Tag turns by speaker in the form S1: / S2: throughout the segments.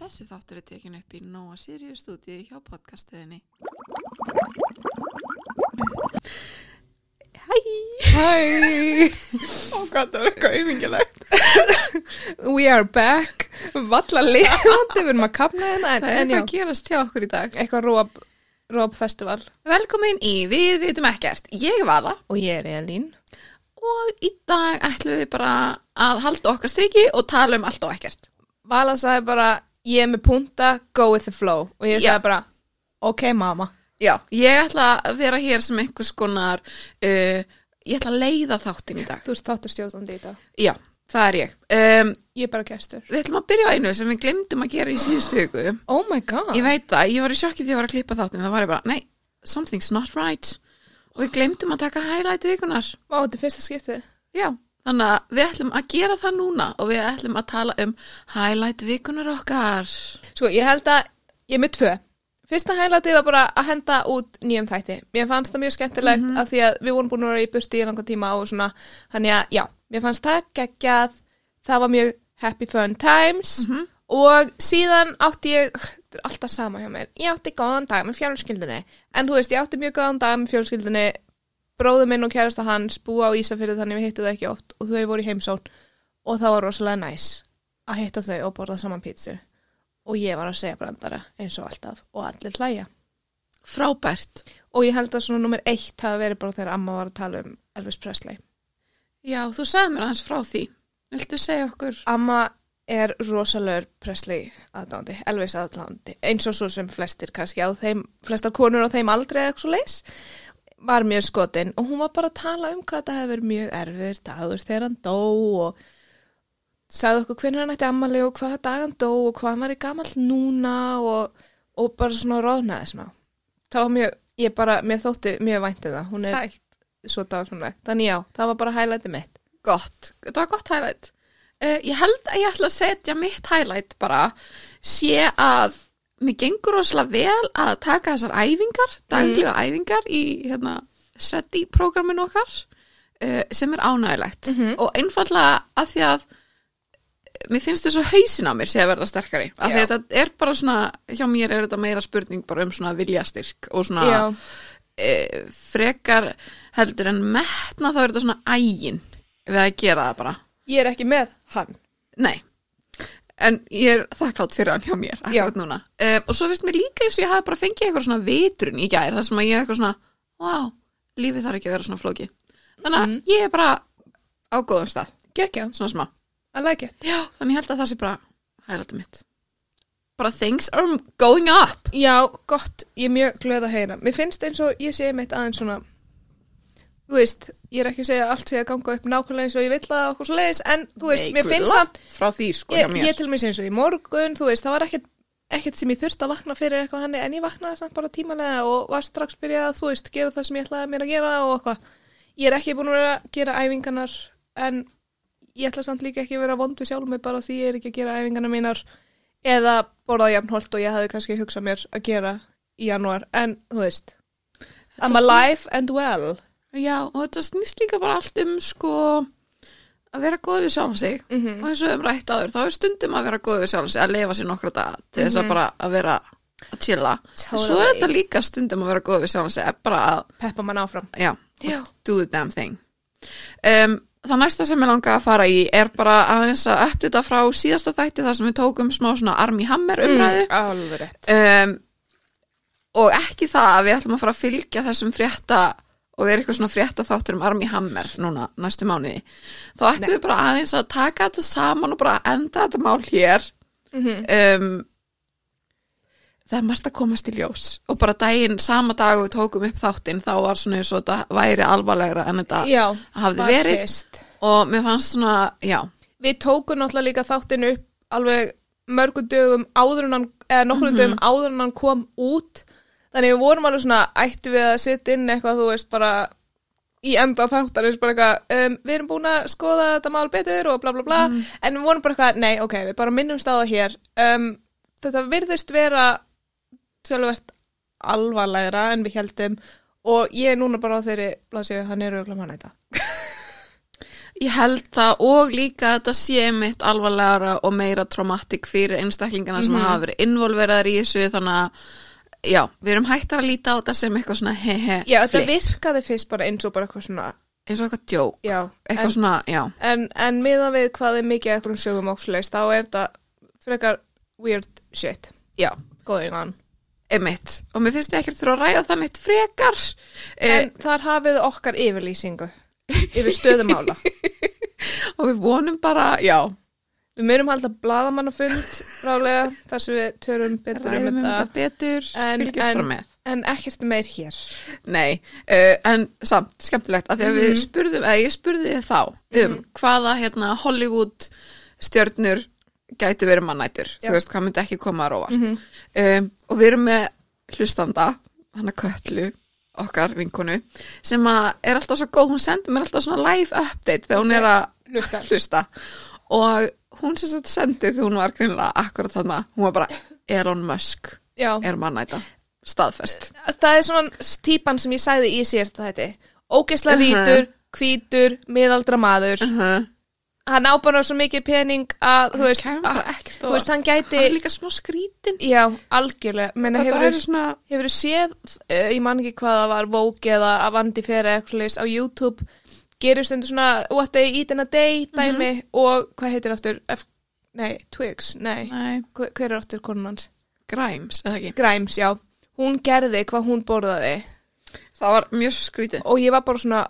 S1: Þessi þáttur er tekin upp í Nóa Sirius stúdíu hjá podcastiðinni.
S2: Hæ,
S1: Ó, hvað það var eitthvað auðvingilegt.
S2: we are back Valla lifandi, við erum að kapna hérna en,
S1: Það er
S2: en
S1: eitthvað
S2: já,
S1: að gerast hjá okkur í dag.
S2: eitthvað róab, róab festival
S1: Velkomin í Við vitum ekkert. Ég er Vala
S2: Og ég er Elín
S1: og í dag ætlum við bara að halda okkar striki og tala um allt og ekkert.
S2: Vala sagði bara, ég er með punta, go with the flow Og ég
S1: Já.
S2: sagði bara, ok mamma
S1: Já, ég ætla að vera hér sem einhvers konar, uh, ég ætla að leiða þáttin í dag.
S2: Þú ert þáttur stjórnandi í dag
S1: Já, það er ég. Um,
S2: Ég er bara gestur
S1: við ætlum að byrja á einu sem við glemdum að gera í síðustu viku.
S2: Oh my god
S1: Ég veit það, ég var í sjokki því að var að klippa þáttin þá var ég bara, nei, something's not right og við glemdum að taka highlight vikunar
S2: Vá, þetta er fyrsta skiptið
S1: Já, þannig að við ætlum að gera það núna og við ætlum að tala um highlight vikunar okkar
S2: Sko, ég held að, ég er með tvö Fyrsta hælatið var bara að henda út nýjum þætti. Mér fannst það mjög skemmtilegt af því að við vorum búin að vera í burti í langan tíma og svona, þannig að já, mér fannst það geggjað, það var mjög happy fun times og síðan átti ég, þetta er alltaf sama hjá mér, ég átti góðan dag með fjölskyldinni, en þú veist, ég átti mjög góðan dag með fjölskyldinni, bróður minn og kærasta hans búa á Ísafyrði þannig við hittu það ekki oft og þau voru í heimsón og það var rosalega næs að hitta þau og borða saman pítsu og ég var að segja brandara eins og alltaf og allir hlæja
S1: Frábært
S2: og ég held að svona nummer eitt hafi verið bara þegar amma var að tala um Elvis Presley
S1: Já, þú sagði mér aðeins frá því Viltu segja okkur?
S2: amma er rosalögur Presley aðdándi, Elvis aðdándi eins og svo sem flestir kannski á þeim flestar konur á þeim aldrei eða eitthvað leis var mjög skotin og hún var bara að tala um hvað þetta hefur verið mjög erfir dagur þegar hann dó og sagði okkur hvernig hann ætti ammali og hvaða dag hann dó og hvað hann var í gamall núna og, og bara svona róðnaði smá það var mjög, ég bara, mér þótti mjög væntu það, hún er
S1: Sælt
S2: svo dagframleg þannig já, það var bara hælæti mitt
S1: Gott, þetta var gott highlight uh, Ég held að ég ætla að setja mitt highlight bara sé að mér gengur rosalega vel að taka þessar æfingar,
S2: Mhm.
S1: daglega æfingar í hérna Sreddy-prógraminu okkar uh, sem er ánægilegt
S2: Mhm.
S1: og einfallega að því að eh, mér finnst þess að hausin á mér sé að verða sterkari að því
S2: Já.
S1: að þetta er bara svona hjá mér er þetta meira spurning bara um svona viljastyrk og svona
S2: Já.
S1: e, frekar heldur en metna þá er þetta svona ægin við að gera það bara
S2: ég er ekki með hann
S1: nei, en ég er þakklátt fyrir hann hjá mér
S2: Já.
S1: akkurat núna e, og svo finnst mér líka eins og ég hafi bara fengið eitthvað svona vitrun í gær þar sem að ég er eitthvað svona wow, lífið þarf ekki að vera svona flóki þannig að
S2: Mhm.
S1: ég er bara á góðum stað
S2: Gekja,
S1: svona smá,
S2: I like it
S1: já, þannig ég held að það sé bara hæglæta mitt bara things are going up
S2: Já, gott, ég er mjög glöð að heyra Mér finnst eins og ég segi mitt aðeins svona Þú veist, ég er ekki að segja að allt sé að ganga upp nákvæmlega eins og ég vill að okkur svo leiðis En þú veist, mér finnst samt
S1: frá því sko
S2: ég, ég til mér eins og í morgun, þú veist, það var ekkert ekkert sem ég þurfti að vakna fyrir eitthvað hannig en ég vaknaði samt bara tímanlega og var strax byrjað að þú veist, gera það sem ég ætlaði mér að gera og eitthvað, ég er ekki búin að vera að gera æfingarnar en ég ætla samt líka ekki að vera vond við sjálf mig bara því ég er ekki að gera æfingarnar mínar eða borðað jafnholt og ég hafði kannski hugsað mér að gera í janúar, en þú veist I'm alive and well
S1: Já, og þetta snýst líka bara allt um sko að vera góð við sjálf sig
S2: Mhm.
S1: og eins og um rætt áður, þá er stundum að vera góð við sjálf sig að leifa sér nokkra daga til þess að bara að vera að chilla
S2: Mhm. Totally.
S1: Svo er þetta líka stundum að vera góð við sjálf sig að bara að,
S2: peppa mann áfram
S1: já,
S2: Já.
S1: do the damn thing um, Það næsta sem ég langa að fara í er bara aðeins að uppdita frá síðasta þætti þar sem við tókum smá svona arm í hammer
S2: Mm.
S1: umræðu
S2: Alveg rétt
S1: um, og ekki það að við ætlum að fara að fylgja þessum frétta og vera eitthvað svona frétta þáttur um Armi Hammer núna næstu mánuði þá ætlum við bara aðeins að taka þetta saman og bara enda þetta mál hér um, það er margt að komast í ljós og bara daginn, sama dag og við tókum upp þáttinn þá var svona eins og þetta væri alvarlegra en þetta
S2: Já,
S1: hafði
S2: var
S1: verið
S2: fyrst.
S1: og mér fannst svona, já
S2: við tókum náttúrulega líka þáttinu upp alveg mörgum dögum áður en hann, eða nokkrum dögum áður en hann kom út þannig við vorum alveg svona ættu við að sitja inn eitthvað þú veist bara í enda þáttarins bara eitthvað um, við erum búin að skoða þetta mál betur og bla bla bla en við vorum bara eitthvað, nei ok, við bara minnumst á það hér um, þetta virðist vera tölvært alvarlegra en við heldum og ég er núna bara á þeirri blasíu, hann er auðvitað mann þetta
S1: Ég held það og líka að þetta sé mitt alvarlegra og meira traumatik fyrir einstaklingana
S2: Mhm.
S1: sem hafa verið involveraðar í þessu þannig að já, við erum hættar að líta á þetta sem eitthvað svona hehe
S2: Já, þetta
S1: flipp.
S2: virkaði fyrst bara eins og bara eitthvað svona,
S1: eins og eitthvað djók,
S2: já.
S1: eitthvað
S2: En,
S1: svona, já
S2: en, en miða við hvað er mikið eitthvað um sögum óksleis, þá er þetta frekar weird shit.
S1: já,
S2: Góðið hann.
S1: emitt og mér finnst ég ekkert þurfa að ræða það mitt frekar Eh,
S2: En þar hafið okkar yfirlýsingu yfir stöðumála.
S1: og við vonum bara, já
S2: Við myndum halda bladamannafund rálega þar sem við törum betur um
S1: ræðum um þetta
S2: þetta.
S1: betur,
S2: En-
S1: fylgjast
S2: en-
S1: bara með
S2: En ekkert meir hér.
S1: Nei, uh, en samt skemmtilegt að því að
S2: Mhm.
S1: við spurðum, eða ég spurði þig þá um hvaða hérna Hollywood stjörnur gæti verið mannætur,
S2: Já. Mhm.
S1: þú veist hvað myndi ekki koma að róvart um, og við erum með hlustanda, hana Kötlu okkar vinkonu sem að er alltaf svo góð, hún sendir mér alltaf svona live update þegar hún er að
S2: Hlusta.
S1: hlusta og hún sem sagt sendi þegar hún var greinlega akkurat þarna, hún var bara Elon Musk
S2: Já.
S1: er mannæta staðfest
S2: það er svona típan sem ég sagði í síðasta þetta ógeðslega
S1: Mhm.
S2: rítur, hvítur miðaldra maður
S1: uh -huh.
S2: hann á bara svo mikið pening að þú veist,
S1: kæmi
S2: að,
S1: bara ekkert á
S2: þú veist hann gæti
S1: hann er líka smá skrítin
S2: já, algjörlega menna
S1: það
S2: hefur
S1: er svona
S2: Hefur þú séð, uh, ég man ekki hvað það var, Vogue eða Avandi Fera eða eitthvað leis á YouTube, gerir stundu svona What They Eat in a Day
S1: Mhm.
S2: dæmi og hvað heitir aftur, F nei, Twigs, nei,
S1: nei,
S2: Hver, hver er aftur konun hans?
S1: græms, eða ekki
S2: Grimes, já, hún gerði hvað hún borðaði
S1: það var mjög skrítið
S2: og ég var bara svona,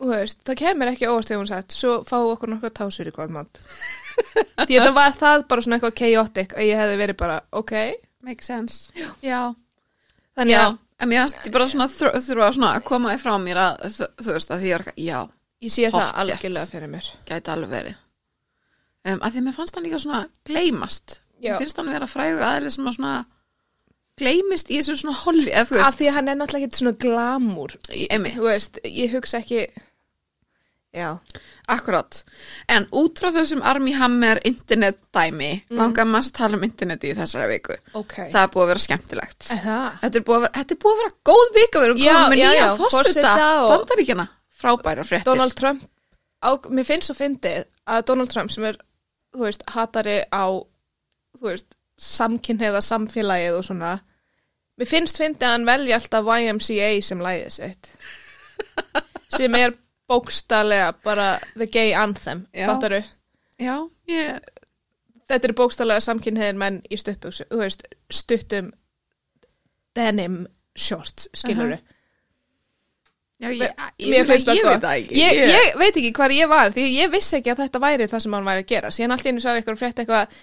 S2: þú veist, það kemur ekki óvart þegar hún sagt, svo fáu okkur nokkra tásur í hvað mann. Því þetta var það bara svona eitthvað chaotic að ég hefði verið bara, ok,
S1: make sense já,
S2: þannig
S1: já.
S2: að
S1: en mér fannst ég bara svona þur- þurfa svona að koma þið frá mér að þ- þú veist að því ég var eitthvað, já,
S2: ég sé það
S1: Pottþétt.
S2: algjörlega fyrir mér.
S1: gæti alveg verið um, að því mér fannst hann líka svona gleymast
S2: Já.
S1: mér finnst hann vera frægur aðeins sem að svona gleymist í þessu svona holli eða þú
S2: af
S1: veist,
S2: því að hann er náttúrulega ekki svona glamúr
S1: Einmitt.
S2: þú veist, ég hugsa ekki já,
S1: akkurat en út frá þessum Armie Hammer internet dæmi, langar maður að tala um interneti í þessari viku
S2: Mhm. ok
S1: það er búið að vera skemmtilegt
S2: það
S1: þetta er búið að vera, þetta er búið að vera góð vika við erum
S2: Já,
S1: komin með
S2: já,
S1: nýja
S2: já,
S1: fórseta
S2: forseta og-
S1: bandaríkjana frábæra fréttir
S2: Donald Trump, á, mér finnst svo fyndið að Donald Trump sem er þú veist, hatari á þú veist, samkynniða samfélagið og svona mér finnst fyndið að hann velja alltaf YMCA sem læðið sitt sem er bókstarlega bara the gay anthem,
S1: Já.
S2: fattaru
S1: já, ég,
S2: þetta eru bókstálega samkynniðin menn í stuttbuksu, þú veist, stuttum denim shorts, skilur
S1: já, ég, ég,
S2: Mér finnst það
S1: ég
S2: gott.
S1: veit það ekki
S2: Ég, ég veit ekki hvar ég var, því ég vissi ekki að þetta væri það sem hann væri að gera. Síðan allt í einu sá ég eitthvað frétt eitthvað,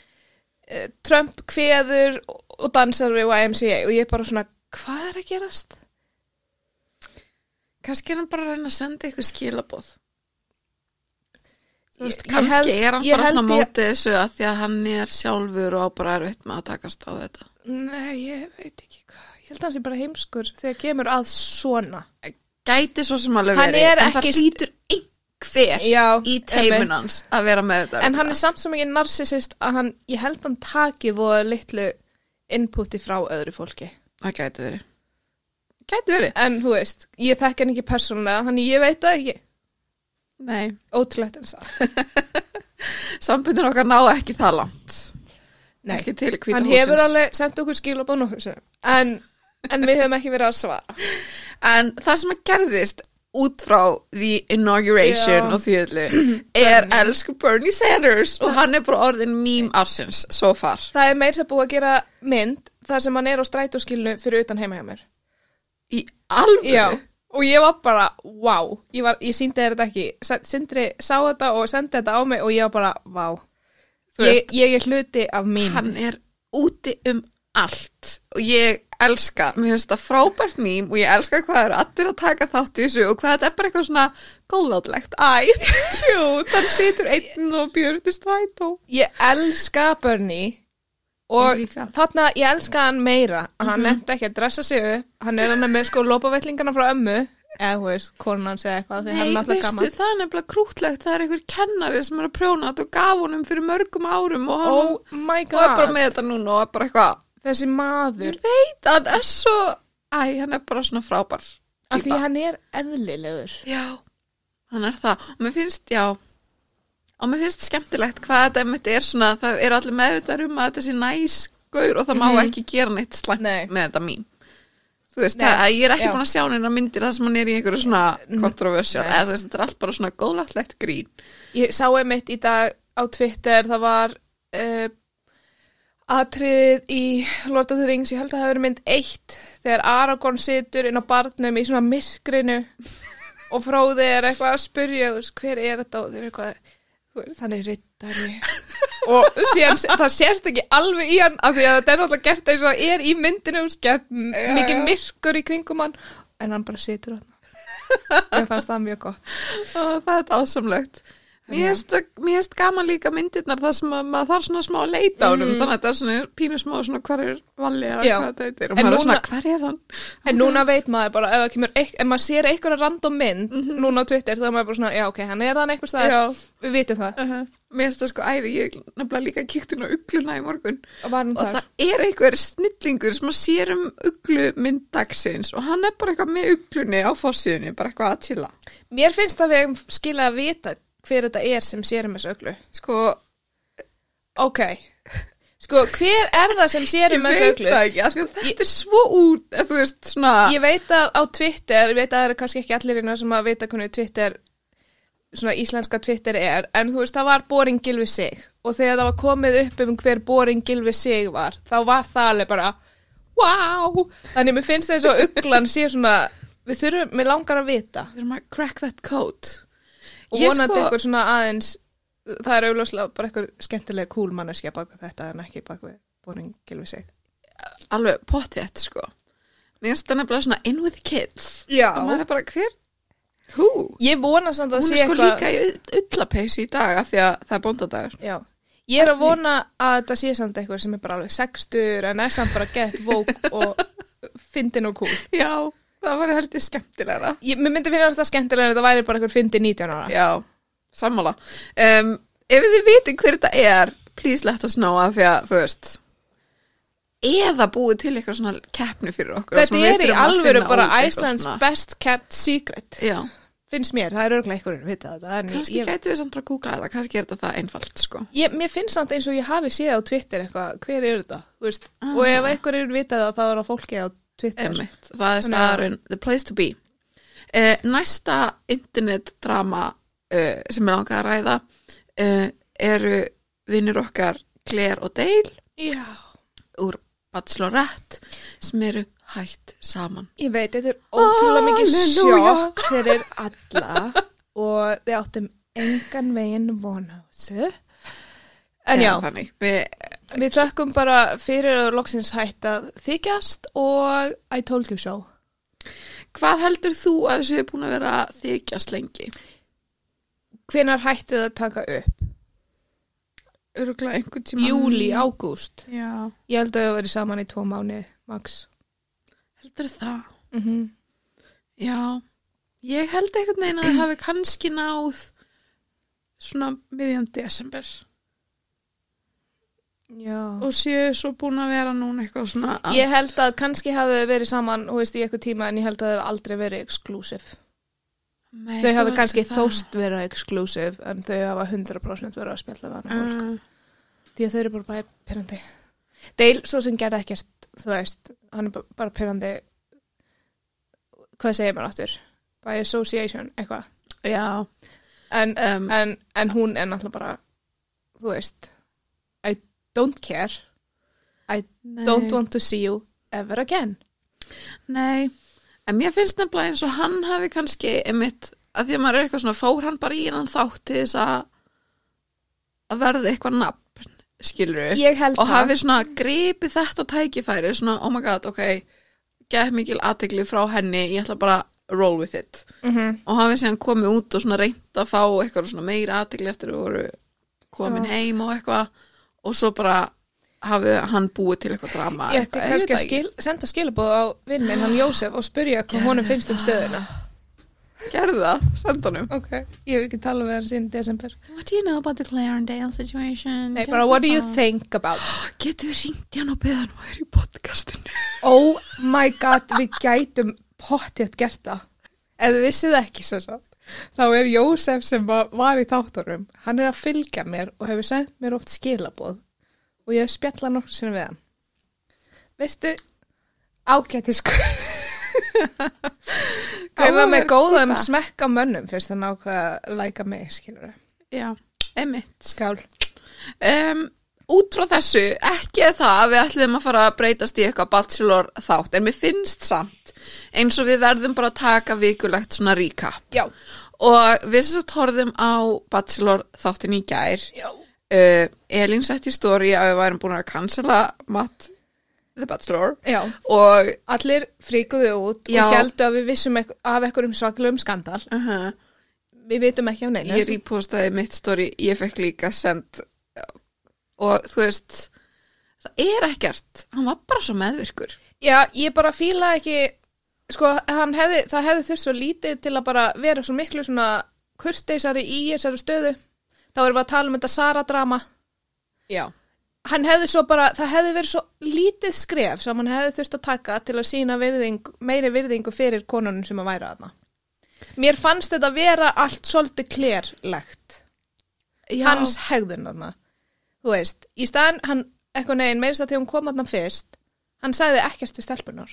S2: eh, Trump kveður og dansar við YMCA og ég bara svona, hvað er að gerast?
S1: kannski er hann bara að reyna að senda eitthvað skilaboð Þú veist,
S2: Ég- ég
S1: kannski
S2: held-
S1: er hann
S2: ég
S1: bara svona
S2: held ég-
S1: mótið þessu að því að hann er sjálfur og á bara erfitt með að takast á þetta
S2: Nei, ég veit ekki hvað. Ég held að hann sé bara heimskur þegar kemur að svona.
S1: gæti svo sem alveg
S2: Hann
S1: verið
S2: er
S1: en það
S2: ekki st-
S1: hlýtur einhver
S2: Já,
S1: í teimun
S2: einmitt.
S1: hans að vera með þetta
S2: En hann er samt sem ekki narsisist að hann, ég held hann taki voða litlu inputi frá öðru fólki.
S1: það gæti verið gæti verið
S2: En þú veist, ég þekk hann ekki persónulega, þannig ég veit það ekki.
S1: Nei.
S2: Ótrúlegt en það.
S1: Sambundin okkar ná ekki það langt.
S2: Nei,
S1: Ekki til hvita
S2: hann
S1: húsins.
S2: hefur alveg sendt okkur skilabóð nokkur sem. En, en við höfum ekki verið að svara.
S1: En það sem að gerðist út frá the inauguration
S2: Já.
S1: og því öllu er elsku Bernie Sanders og hann er bara orðin mím ársins so far.
S2: Það er meira að búa að gera mynd þar sem hann er á strætóskilinu fyrir utan heima hjá mér.
S1: Í alveg.
S2: Já, og ég var bara, wow, ég, var, ég síndi þér þetta ekki. Sen- Sindri sá þetta og sendi þetta á mig og ég var bara, wow.
S1: Þú
S2: Ég, ég er hluti af mín.
S1: Hann er úti um allt og ég elska, mér finnst það frábært mím og ég elska hvað það eru allir að taka þátt í þessu og hvað þetta er bara eitthvað svona góðlátlegt. Æ, cute, hann situr einn og býður til strætó.
S2: ég elska Bernie og
S1: Ég líka. Mhm.
S2: þarna ég elska hann meira hann nefndi ekki að dressa sig upp hann er hann með sko lópavetlingarna frá ömmu eða hú veist, konan hans eða eitthvað þegar hann
S1: Nei,
S2: er alltaf
S1: veistu,
S2: gaman
S1: það er nefnilega krútlegt, það er einhver kennari sem er að prjóna þetta og gaf honum fyrir mörgum árum og hann
S2: oh my
S1: og er bara
S2: god,
S1: með þetta núna og er bara eitthvað,
S2: þessi maður
S1: ég veit, hann er svo, æ, hann er bara svona frábær.
S2: af því
S1: típa.
S2: hann er eðlilegur
S1: Já, hann er það og mér finnst, já og mér finnst skemmtilegt hvað þetta einmitt er svona, það eru allir meðvitað um að þetta sé næs gaur og það má ekki gera neitt slæmt
S2: Mhm. Nei.
S1: með þetta mín þú veist,
S2: Nei,
S1: það, ég er ekki
S2: já.
S1: búin að sjá neina myndir þar sem hann er í einhverju svona kontroversjál,
S2: Nei.
S1: eða þú veist, þetta er allt bara svona góðlætlegt grín
S2: Ég sá einmitt í dag á Twitter, það var uh, atriðið í Lord of the Rings, ég held að það hefur mynd eitt, þegar Aragorn situr inn á barnum í svona myrkrinu og fróði er eitthvað að spyrja, þú veist, hver er þetta og þeir eru eitthvað, þú veist, hann er rittari og síðan, það sérst ekki alveg í hann af því að þetta er náttúrulega gert eins og það er í myndinu, þú veist, gett m-
S1: Já,
S2: mikið
S1: já.
S2: myrkur í kringum hann en hann bara situr hann. Ég fannst það mjög gott.
S1: Ó, það er ásamlegt
S2: Já.
S1: Mér finnst- mér finnst gaman líka myndirnar þar sem að maður þarf svona smá að leita á honum
S2: Mm.
S1: þannig að þetta er svona pínu smá svona hver er valli eða
S2: Já.
S1: hvað þetta heitir og
S2: En
S1: maður er svona
S2: núna-
S1: hver er hann
S2: En núna veit maður bara, ef, það kemur, eik- ef maður sér einhverja random mynd núna á Twitter, þá er maður bara svona, já ok, hann er þann einhvers staðar,
S1: Já.
S2: við vitum það.
S1: Uh -huh. Mér finnst það sko æði, ég nefnilega líka kíkt inn á ugluna í morgun
S2: Og var hann
S1: og
S2: þar?
S1: það er einhver snillingur sem að sér um uglu mynddagsins og hann er bara eitthvað með uglunni á fósiðunni, bara eitthvað að chilla
S2: Mér finnst það við eigum skilja að vita hver þetta er sem sér um þessu öglu.
S1: Sko,
S2: Ok, sko, hver er það sem sér
S1: ég
S2: um þessu
S1: veit
S2: öglu?
S1: það ekki, af því að þetta er svo út, eða þú veist, svona
S2: Sko, Ég veit að á Twitter, ég veit að það eru kannski ekki allir innan sem að vita hvernig Twitter, svona íslenska Twitter er, en þú veist, það var Boring Gilvi Sig og þegar það var komið upp um hver Boring Gilvi Sig var, þá var það alveg bara, wow! Þannig mér finnst þess að uglan sé svona, við þurfum, mér langar að vita
S1: þurfum að crack that code
S2: og
S1: Ég
S2: vonandi
S1: sko-
S2: ykkur svona aðeins, það er auðvitað bara ykkur skemmtilega cool manneskja bak við þetta en ekki bak við Boring Gilvi Sig.
S1: alveg pottjætt sko mér finnst það nefnilega svona in with the kids
S2: Já.
S1: og maður er bara hver hú,
S2: Ég vona samt að
S1: hún
S2: sé
S1: er sko líka í ullapeysu í dag af því að það er bóndadagur
S2: Já. Ég er að vona að þetta sé samt eitthvað sem er bara alveg sextur en er samt bara gett vók og fyndin og cool.
S1: já, það var heldur skemmtilegra
S2: Ég, mér myndi finna þetta skemmtilega en þetta væri bara eitthvað fyndin 19 ára.
S1: já, sammála um, ef þið viti hver þetta er please let us know af því að þú veist eða búið til eitthvað svona keppni fyrir okkur
S2: Þetta er í alvöru bara Iceland's best kept secret.
S1: já,
S2: Finnst mér, það er örglega einhverjum að vita þetta. en
S1: kannski
S2: ég,
S1: gætu við samt bara að googla þetta kannski er þetta það einfalt sko
S2: ég, mér finnst samt eins og ég hafi séð á Twitter eitthvað, hver er þetta? þú Veist? Og ef einhverjum er vitað það, þá er það fólkið á Twitter.
S1: Ah. Einmitt, það er
S2: Þannig að-
S1: staðarinn The Place to Be uh, Næsta internet drama uh, sem er langað að ræða uh, eru vinnur okkar Claire og Dale
S2: Já.
S1: úr Bachelorette sem eru hætt saman
S2: Ég veit, þetta er ótrúlega mikið
S1: Halleluja.
S2: sjokk fyrir alla og við áttum engan veginn vona á þessu. En já,
S1: Eða þannig. Við,
S2: við þökkum bara fyrir að loksins hætt að þykjast og I told you so.
S1: Hvað heldur þú að þessu er búin að vera að þykjast lengi?
S2: Hvenær hættu það að taka upp?
S1: Öruglega einhvern tíma
S2: Júli, ágúst.
S1: Já,
S2: Mm. Ég held að það verið saman í tvo mánu, max.
S1: heldur það
S2: Mm -hmm.
S1: Já, ég held einhvern veginn að það hafi kannski náð svona miðjan desember
S2: Já.
S1: og séu svo búin að vera núna eitthvað svona að-
S2: Ég held að kannski hafði þau verið saman, þú veist, í eitthvað tíma en ég held að það hafi aldrei verið exclusive.
S1: Nei,
S2: Þau
S1: þú
S2: hafa
S1: veist
S2: kannski
S1: það.
S2: þóst vera exclusive en þau hafa 100% verið að spjalla við hann fólk.
S1: Uh,
S2: Því að þau eru bara bara pyrrandi. Dale, svo sem gerði ekkert, þú veist, hann er bara, bara pyrrandi, hvað segir maður áttur? By association, eitthvað.
S1: Já
S2: En,
S1: um,
S2: en, en hún er náttúrulega bara, þú veist, I don't care,
S1: nei,
S2: don't want to see you ever again.
S1: Nei, en mér finnst nefnilega eins og hann hafi kannski einmitt að því að maður er eitthvað svona fór hann bara í hann þátt til þess að að verði eitthvað nafn skilur
S2: Ég held
S1: og
S2: það.
S1: hafi svona gripið þetta tækifæri svona oh my god, ok geð mikil aðtegli frá henni ég ætla bara að roll with it
S2: Mm
S1: og hafi síðan komið út og svona reynt að fá eitthvað svona meira aðtegli eftir að voru komin heim og eitthvað og svo bara hafi hann búið til eitthvað drama
S2: Ég ætti
S1: eitthvað,
S2: kannski
S1: veit það
S2: að
S1: ekki.
S2: skil, senda skilabóð á vinn minn, hann Jósef, og spyrja hvað honum finnst um stöðuna.
S1: gerðu það, senda honum
S2: Ok, ég hef ekki talað við hann síðan í desember.
S1: What do you know about the Claire and Dale situation?
S2: Nei, bara what do you think about?
S1: Getur við ringt hann og beða hann og er í podcastinu
S2: Oh my god, við gætum pottið gert það. Ef þið vissuð ekki, svo svo. þá er Jósef sem var, var í þáttunum hann er að fylgja mér og hefur sendt mér oft skilaboð og ég hef spjallað nokkur sinni við hann veistu ágæti sko hverða með
S1: Áhugavert
S2: góðum
S1: típa.
S2: smekk á mönnum fyrst hann ákvað að læka mig skilur
S1: Já, einmitt.
S2: skál
S1: Um, út frá þessu, ekki er það að við ætlum að fara að breytast í eitthvað bachelor þátt, en mér finnst samt eins og við verðum bara að taka vikulegt svona recap.
S2: já,
S1: Og við sem sagt horfðum á bachelor þáttin í gær.
S2: já
S1: Uh, Elín sett í stóri að við værum búin að cancela Matt the Bachelor
S2: Já,
S1: og
S2: allir fríkuðu út
S1: Já.
S2: og heldu að við vissum ekk- af ekkurum svaklum skandal.
S1: uh -huh,
S2: Við vitum ekki af neina.
S1: ég rýpostaði mitt stóri, ég fekk líka send og þú veist, það er ekkert, hann var bara svo meðvirkur.
S2: Já, ég bara fíla ekki, sko, hann hefði, það hefði þurft svo lítið til að bara vera svo miklu svona kurteisari í þessari stöðu. Þá erum við að tala um þetta Sara-drama.
S1: Já.
S2: Hann hefði svo bara, það hefði verið svo lítið skref sem hann hefði þurft að taka til að sína virðing, meiri virðingu fyrir konunum sem að væra þarna. Mér fannst þetta vera allt svolítið klerlegt.
S1: Já.
S2: hans hegðun þarna þú veist, í staðan hann eitthvað neginn meirist að þegar hún kom þarna fyrst hann sagði ekkert við stelpunar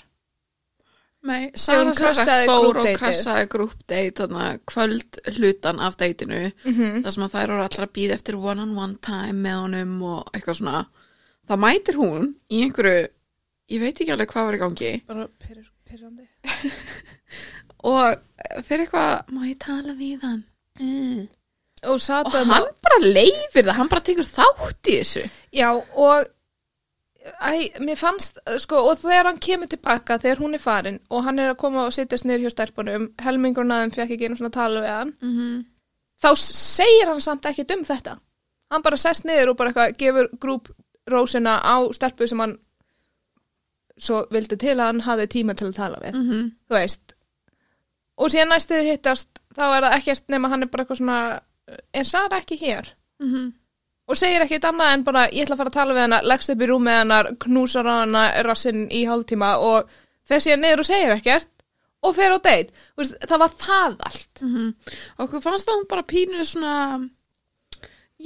S1: Nei,
S2: hún
S1: Sara
S2: krassaði
S1: Sarrett um fór og
S2: grúppdeitið.
S1: krassaði grúpdeit þannig kvöld hlutan af deitinu
S2: Mhm.
S1: þar sem að þær voru allar að býða eftir one on one time með honum og eitthvað svona þá mætir hún í einhverju ég veit ekki alveg hvað var í gangi
S2: bara pyrr, pyrrandi
S1: og fyrir eitthvað, má ég tala við hann mm.
S2: og,
S1: og
S2: og
S1: hann bara leifir það hann bara tekur þátt í þessu
S2: já og Æ, mér fannst, uh, sko, og þegar hann kemur tilbaka, þegar hún er farin og hann er að koma og sittast niður hjá stelpunum, helmingurinn aðeim fekk ekki einu svona tala við hann,
S1: mm -hmm.
S2: þá s- segir hann samt ekkert um þetta. Hann bara sest niður og bara eitthvað gefur grúp rósina á stelpu sem hann svo vildi til að hann hafði tíma til að tala við.
S1: Mm -hmm.
S2: þú veist og síðan næstu þau hittast þá er það ekkert nema hann er bara eitthvað svona er Sara ekki hér? og segir ekkert annað en bara ég ætla að fara að tala við hana leggst upp í rúmið hennar, knúsar á hana rassinn í hálftíma og fer síðan niður og segir ekkert og fer á deit, Þú veist, það var það allt
S1: okkur fannst það hún bara pínu svona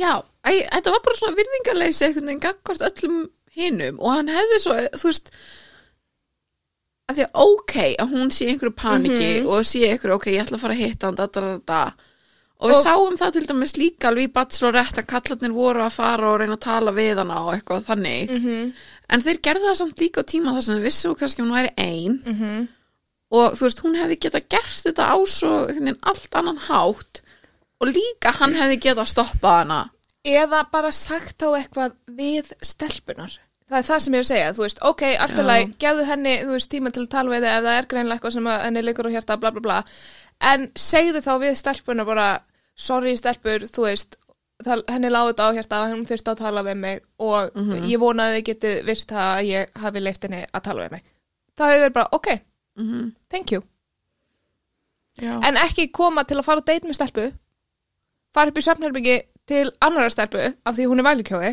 S1: já, æ, þetta var bara svona virðingarleysi einhvern veginn gagvart öllum hinum og hann hefði svo, þú veist að því að ok að hún sé í einhverju paniki og sé einhverju ok, ég ætla að fara að hitta hann da, da, da, da. og við
S2: Og-
S1: sáum það til dæmis líka alveg í bachelorett að kallarnir voru að fara og reyna að tala við hana og eitthvað þannig
S2: -hmm.
S1: en þeir gerðu það samt líka á tíma þar sem þau vissu kannski að hún væri ein
S2: Mm -hmm.
S1: og þú veist, hún hefði geta gert þetta á svo einhvern veginn allt annan hátt og líka hann hefði geta stoppað hana
S2: eða bara sagt þá eitthvað við stelpunar það er það sem ég er að segja, þú veist, ok, allt
S1: Já.
S2: er læg gefðu henni, þú veist, tíma til að tala við þig ef það er greinlega eitthvað sem að henni liggur á hjarta bla bla bla, en segðu þá við stelpunar bara, sorry stelpur þú veist, það, henni láði þetta á hjarta og henni þurfti að tala við mig og ég vona að þið getið virt það að ég hafi leift henni að tala við mig það hefur verið bara, ok,
S1: mm -hmm.
S2: thank you
S1: Já.
S2: en ekki koma til að fara á date með stelpu fara upp í svefnherbyggi til annara stelpu af því hún er vælukjói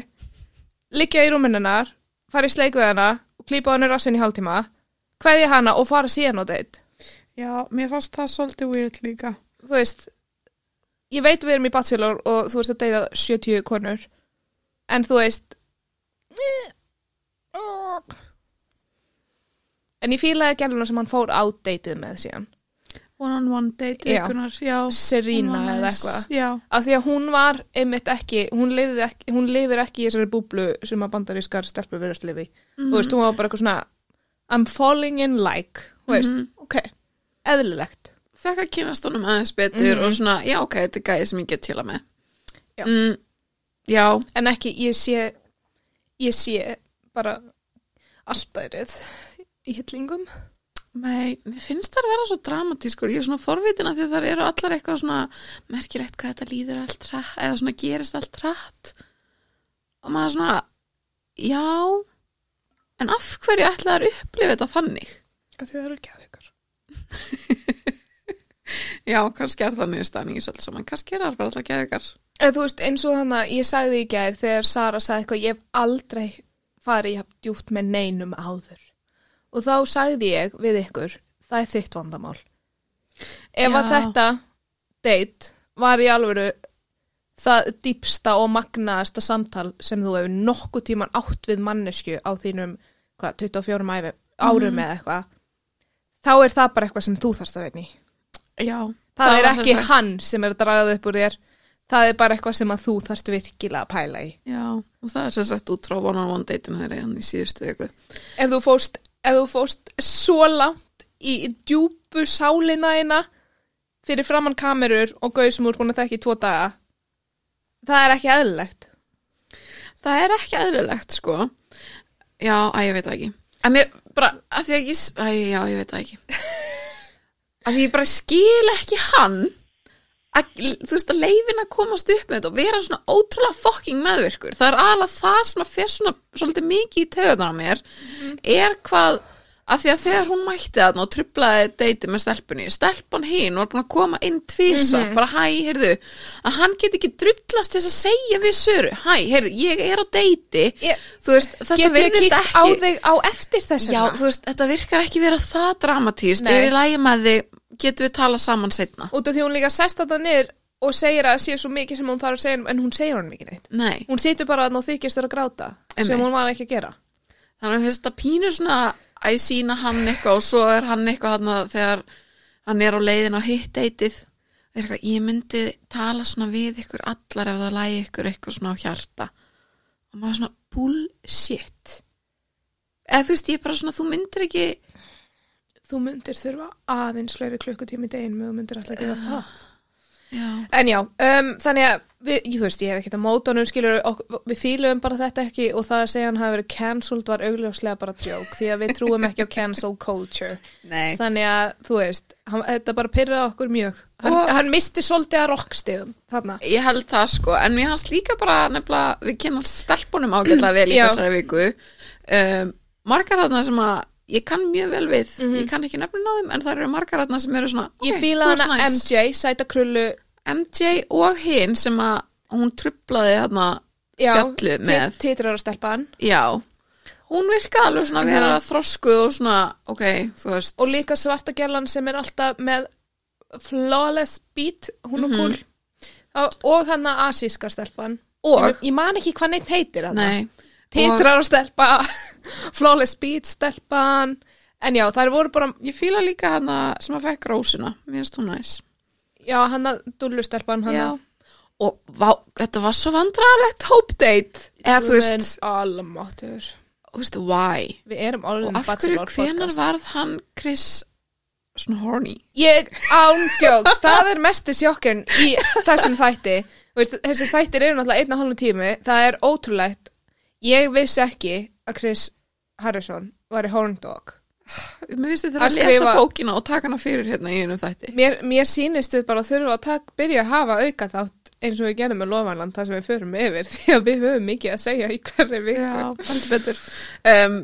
S2: liggja í rúminninar fara í sleik við hana og klípa á henni rassin í hálftíma kveðja hana og fara síðan á date
S1: Já, mér fannst það svolítið weird líka
S2: þú veist ég veit við erum í bachelor og þú ert að deyta 70 konur en þú veist eh, en ég fílaði gæluna sem hann fór á dateið með síðan
S1: One on one date
S2: Já.
S1: ykkurnar, já Hún
S2: Serena
S1: var
S2: eða
S1: næs,
S2: eitthvað
S1: Já,
S2: af því að hún var einmitt ekki hún, lifði ekki, hún lifir ekki í þessari búblu sem að bandarískar stelpur verðast lifi í.
S1: Mhm.
S2: þú veist, hún var bara eitthvað svona I'm falling in like, þú veist
S1: Mhm.
S2: ok, eðlilegt
S1: fekk að kynast honum aðeins betur
S2: Mhm.
S1: og svona, já ok, þetta er gæði sem ég get til að með
S2: Já.
S1: mm, Já,
S2: en ekki, ég sé ég sé bara alltærið í hillingum
S1: Nei, mér finnst það að vera svo dramatískur, ég er svona forvitin að því að það eru allar eitthvað svona merkilegt hvað þetta líður allt rætt, eða svona gerist allt rætt og maður svona, já, en af hverju ætla þær að upplifa þetta þannig?
S2: að þið eru geðveikar
S1: Já, kannski er það niðurstaðan í þessu alls saman, kannski er það bara alltaf geðikar.
S2: eða Eh, þú veist, eins og þannig að ég sagði í gær þegar Sara sagði eitthvað, ég hef aldrei farið í hafn djúpt með neinum áður og þá sagði ég við ykkur, það er þitt vandamál ef að
S1: Já.
S2: þetta date var í alvöru það dýpsta og magnaðasta samtal sem þú hefur nokkuð tíman átt við mannesku á þínum hvað, 24 æfi, árum eða eitthvað þá er það bara eitthvað sem þú þarfst að vinni
S1: Já.
S2: það, er
S1: var sem
S2: ekki
S1: sagt-
S2: hann sem er að draga upp úr þér það er bara eitthvað sem að þú þarfst virkilega að pæla í
S1: Já, og það er sem sagt út frá one-on-one date-inu þeirra hann í síðustu viku.
S2: ef þú fóst, ef þú fóst svo langt í í djúpu sálina eina fyrir framann kamerur og gauð sem þú er búin að þekki í tvo daga það er ekki eðlilegt
S1: Það er ekki eðlilegt, sko. Já, að ég veit það ekki. En mér bara, að því að ég, s- æ, já, ég veit það ekki. Að því ég bara skil ekki hann að, þú veist, að leifin að komast upp með þetta og vera svona ótrúlega fucking meðvirkur. Það er alveg það sem að fer svona svolítið mikið í töðan á mér er hvað að því að þegar hún mætti þarna og trublaði deiti með stelpunni, stelpan hinn var búin að koma inn tvísa, bara hæ, heyrðu að hann get ekki drullast til þess að segja við Söru, hæ, heyrðu, ég er á deiti
S2: Ég-
S1: þú veist, þetta
S2: getur ég
S1: verðist
S2: kíkt á
S1: ekki
S2: þig á eftir þess
S1: já,
S2: vegna
S1: þú veist, þetta virkar ekki vera það dramatíst,
S2: Nei.
S1: er í lægi með þig getum við tala saman setna
S2: út af því hún líka sest þetta niður og segir að sé svo mikið sem hún þarf að segja en hún segir hann ekki neitt
S1: nei,
S2: hún situr bara þarna og þykist þér að gráta
S1: Einmitt.
S2: sem hún var ekki að gera
S1: þannig að mér finnst þetta pínu svona að sína hann eitthvað og svo er hann eitthvað hann þegar hann er á leiðin á hitt eitið er eitthvað, ég myndi tala svona við ykkur allar ef það lægi ykkur eitthvað svona á hjarta og maður svona bullshit eða þú veist, ég er bara svona, þú myndir ekki
S2: þú myndir þurfa aðeins fleiri klukkutími í deginu með þú myndir alltaf að gera það
S1: já,
S2: En já, um, þannig að við, ég, þú veist, ég hef ekkert að móta honum, skilur, ok, við fýlum bara þetta ekki og það að segja hann hafi verið cancelled var augljóslega bara joke því að við trúum ekki á cancel culture.
S1: nei
S2: Þannig að, þú veist, hann, þetta bara pyrraði okkur mjög. Hann,
S1: Og-
S2: hann misti svolítið að rockstigum þarna.
S1: Ég held það sko, en mér hans líka bara nefnilega, við kennum stelpunum ágætlega vel í
S2: Já.
S1: þessari viku um, margar þarna sem að ég kann mjög vel við, ég kann ekki nefnin á þeim en það eru margar þarna sem eru svona
S2: Mhm. Ég
S1: ok,
S2: fýla
S1: þú ert
S2: hana MJ, sæta krullu,
S1: MJ og hinn sem að hún trublaði þarna
S2: já,
S1: spjallið með
S2: titrar að stelpa hann.
S1: Já, hún virkaði alveg svona að vera
S2: Já.
S1: þroskuð og svona, ok, þú veist
S2: Og líka svarta gælan sem er alltaf með flawless beat, hún
S1: Mhm.
S2: er cool. Og- Og hann að asíska stelpan.
S1: Og-
S2: Sem ég- Ég man ekki hvað neitt heitir hann.
S1: Nei,
S2: titrar og stelpa flawless beat stelpan en já, þær voru bara
S1: ég fíla líka hana sem að fekk rósina, mér finnst hún næs
S2: já, hann að dullu stelpan hann
S1: Já. og vá, þetta var svo vandræðalegt hópdeit eða þú veist,
S2: almáttur
S1: þú veist, why
S2: við erum
S1: og
S2: orðin
S1: af hverju
S2: Um bachelor
S1: hvenar
S2: podcast
S1: varð hann Chris svona horny
S2: ég ándjóks, það er mesti sjokkun í þessum þætti Þú veist, þessi þættir eru náttúrulega einn og hálfum tími það er ótrúlegt ég vissi ekki að Chris Harrison var í Horn Dog
S1: mér finnst þið þurfa að
S2: Að
S1: lesa
S2: skrifa-
S1: bókina og taka hana fyrir hérna í einum þætti
S2: mér, mér sýnist við bara þurfa að tak, byrja að hafa auka þátt eins og við gerum með lofanland þar sem við förum yfir því að við höfum mikið að segja í hverri viku
S1: já, heldur betur um,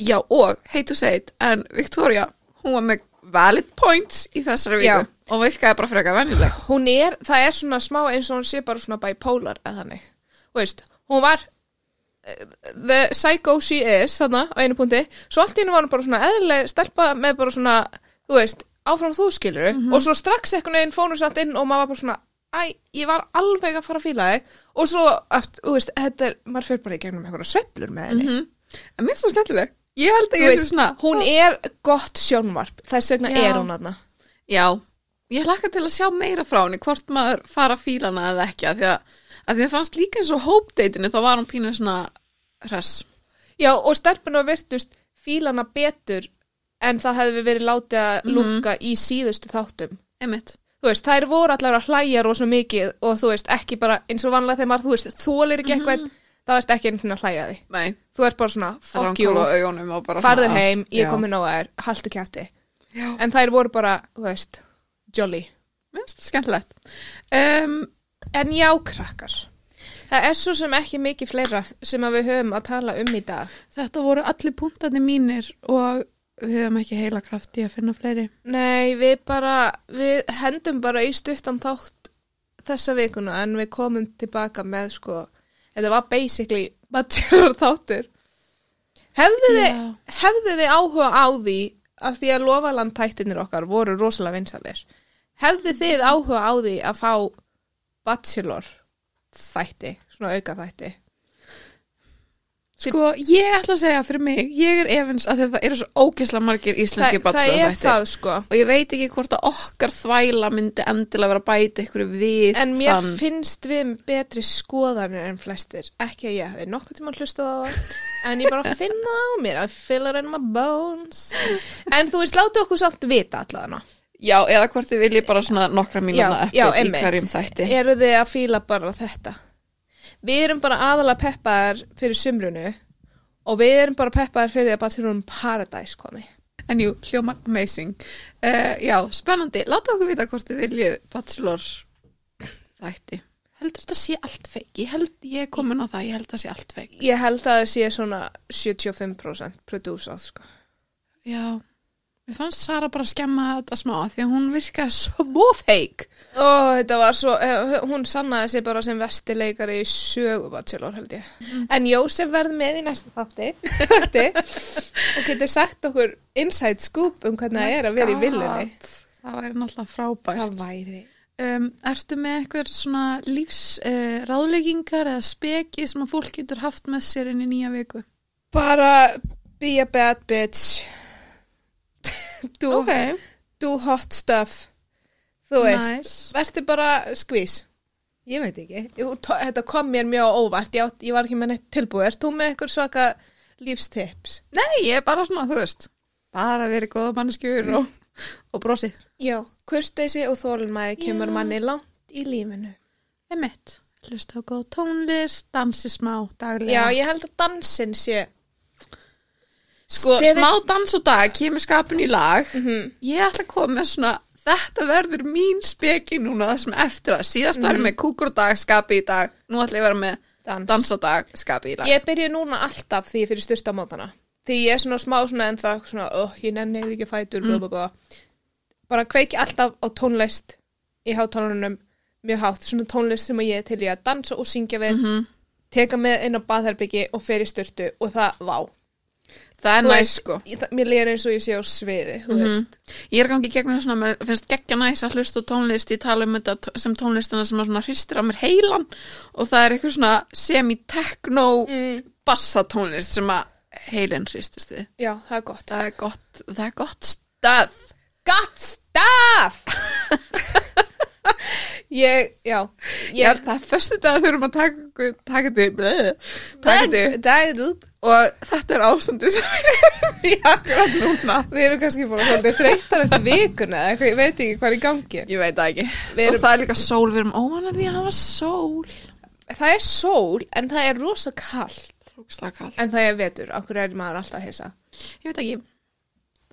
S1: já, og hate to say it, en Victoria hún var með valid points í þessari viku
S2: Já.
S1: og virkaði bara frekar venjuleg
S2: hún er, það er svona smá eins og hún sé bara svona bipolar eða þannig Þú veist, hún var eh, the psycho she is þarna á einu punkti, svo allt í hennu var hún bara svona eðlileg stelpa með bara svona þú veist, áfram þú skilur
S1: Mhm.
S2: og svo strax einhvern veginn fór hún satt inn og maður var bara svona æ, ég var alveg að fara að fíla þig og svo, eftir, þú veist, þetta er maður fyrir bara í gegnum einhverja sveiflur með henni
S1: mm. en mér er svo skemmtileg ég held að
S2: Mhm. Þú
S1: ég er
S2: veist,
S1: svona
S2: hún er gott sjónvarp þess vegna
S1: Já.
S2: er hún aðna
S1: Já, ég hlakka til að sjá meira frá henni hvort maður fara að fíla hana eða ekki að því að, að því að fannst líka eins og hópdeitinu þá var hún pínu svona hress.
S2: já og stelpuna virtust fílana betur en það hefði verið látið að
S1: Mhm.
S2: lúka í síðustu þáttum
S1: Einmitt.
S2: þú veist, þær voru allar að hlæja rosa mikið og þú veist, ekki bara eins og vanlega þegar maður, þú veist, þólir ekki eitthvað
S1: Mhm.
S2: þá ert ekki einhvern veginn að hlæja því
S1: Nei,
S2: þú ert bara svona, fuck you,
S1: rannkóla augunum og bara
S2: farðu
S1: svona-
S2: heim
S1: Já.
S2: ég komin á þær, haltu kjátti
S1: Já,
S2: en þær voru bara, þú veist, jolly
S1: minnst skemmtilegt. Um,
S2: en já, krakkar það er svo sem ekki mikið fleira sem að við höfum að tala um í dag
S1: þetta voru allir punktandi mínir og við hefum ekki heila kraft í að finna fleiri.
S2: Nei, við bara, við hendum bara í stuttan þátt þessa vikuna en við komum tilbaka með sko, þetta var basically bachelor þáttur. Hefðu þið,
S1: Já.
S2: hefðu þið áhuga á því að því að lofaland tættinir okkar voru rosalega vinsalir? hefði þið áhuga á því að fá bachelor þætti, svona auka þætti
S1: Sko, ég ætla að segja fyrir mig, ég er efins að það eru svo ógeðslega margir íslenski
S2: það, það er
S1: bachelor
S2: það sko
S1: og ég veit ekki hvort að okkar þvæla myndi endilega vera að bæta ykkur við
S2: en mér
S1: þann
S2: finnst við með betri skoðanir en flestir, ekki að ég hefði nokkuð tíma hlustað á það, en ég bara finn það á mér, I feel it in my bones en þú veist, láttu okkur samt vita allavega
S1: Já, eða hvort þið viljið bara svona nokkra mínuna
S2: já,
S1: eftir í
S2: einmitt.
S1: hverjum þætti
S2: eru þið að fíla bara þetta við erum bara aðalega peppaðar fyrir sumrunu og við erum bara peppaðar fyrir því að Bachelorun Paradise komi
S1: En jú, hljómar amazing uh, Já, spennandi, láta okkur vita hvort þið viljið bachelor þætti Heldur þetta sé allt feik Ég held, ég er komin á það, ég held það sé allt feik
S2: ég held að það sé svona 75% prodúsað sko
S1: Já, mér fannst Sara bara skemma þetta smá því að hún virkaði svo feik
S2: Ó, þetta var svo, eh, hún sannaði sig bara sem vestileikari í sögu Bachelor held ég. En Jósef verð með í næsta þátti þætti, og getur sagt okkur inside scoop um hvernig það er að vera í villunni.
S1: Oh God, Það væri náttúrulega frábært
S2: Það væri.
S1: Um, ertu með eitthvað svona lífsráðleggingar eða speki sem að fólk getur haft með sér inn í nýja viku?
S2: Bara be a bad bitch. do, do hot stuff. Þú veist,
S1: Nice.
S2: verður bara skvís. Ég veit ekki. Jú, to- Þetta kom mér mjög á óvart. Ég, átt, ég var ekki með neitt tilbúið. Ert þú með eitthvað svaka lífstips?
S1: Nei, ég er bara svona, þú veist, bara verið góða manneskjur og, og brosið.
S2: Já, kurteisi og þólumæði kemur
S1: Já.
S2: manni langt í lífinu.
S1: Emmett, hlusta á góð tónlist, dansi smá
S2: Já,
S1: daglega.
S2: ég held að dansin sé
S1: Sko,
S2: Stefið-
S1: smá dans og dag kemur skapin í lag.
S2: Mhm.
S1: Ég ætla að koma með svona, þetta verður mín speki núna það sem eftir að síðast var ég með kúkur og dag, skapi í dag, nú ætla ég að vera með
S2: dans.
S1: dans og dag, skapi í dag.
S2: Ég byrja núna alltaf því ég fyrir styrst á mótana. Því ég er svona smá svona en það svona, oh, ég nenni ekki fætur, mm. blá, blá, blá. Bara kveiki alltaf á tónlist í hátalunum mjög hátt, svona tónlist sem ég er til ég að dansa og syngja við,
S1: Mhm.
S2: teka með inn á baðherbyggi og fer í styrtu og það, vá.
S1: Það er
S2: Þú
S1: næst,
S2: veist,
S1: sko. Mhm.
S2: ég- það- Mér líður eins og ég sé á sviði, þú veist.
S1: Ég er gangið gegnum svona, mér finnst geggja næs að hlusta á tónlist, ég tala um þetta t- sem tónlistina sem að svona hristir á mér heilan og það er eitthvað svona semi-techno
S2: Mm.
S1: bassatónlist sem að heilin hristist við.
S2: Já, það er gott.
S1: Það er gott, það er gott stöð.
S2: Gott staf! ég, já,
S1: Ég
S2: ég
S1: held það er föstu dag að þurfum að taka, taka þetta upp, taka þetta upp
S2: Dagðu upp.
S1: og þetta er ástandi sem ég er akkurat núna.
S2: Við erum kannski búin að svolítið þreytar eftir vikuna eða eitthvað, ég veit ekki hvað er í gangi.
S1: Ég veit það ekki.
S2: Við erum-
S1: Og það er líka sól, við erum óvanar því að hafa sól.
S2: Það er sól, en það er rosa kallt.
S1: Rúkslega kall.
S2: En það er vetur, okkur er maður alltaf hissa.
S1: Ég veit ekki,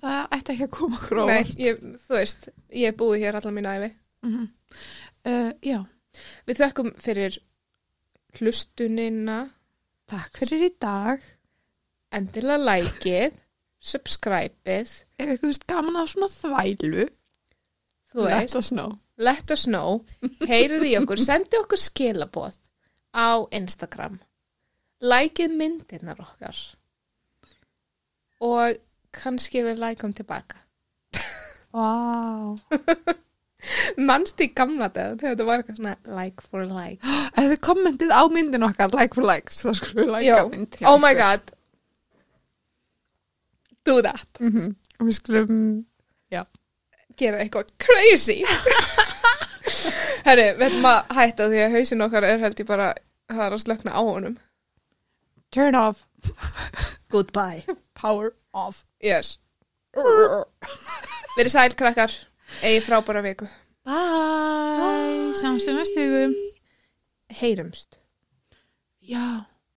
S1: það ætti ekki að koma okkur á
S2: Nei,
S1: óvart.
S2: ég, þú veist, ég er búið hér allar mínu æfi.
S1: Uh, já,
S2: Við þökkum fyrir hlustunina,
S1: takk.
S2: fyrir í dag, endilega likeið, subscribeið,
S1: Ef ykkur veist gaman af svona þvælu,
S2: þú veist.
S1: us know.
S2: let us know, heyrið í okkur, sendi okkur skilaboð á Instagram, likeið myndirnar okkar og kannski við likeum tilbaka.
S1: Vá. Wow.
S2: Manst í gamla dag þegar þetta var eitthvað svona like for like.
S1: Ef þið kommentið á myndin okkar, like for like, þá skulum við
S2: Já,
S1: likea myndin.
S2: oh my god. Do that.
S1: Mm -hmm. Og við skulum, já.
S2: Gera eitthvað crazy. Herri, við ætlum að hætta því að hausin okkar er held ég bara, það er að slökna á honum.
S1: Turn off,
S2: Goodbye.
S1: power off.
S2: Yes. Verið sæl krakkar, eigi frábæra viku.
S1: Bye. Bye. Samstu næstu hugum.
S2: Heyrumst.
S1: Já.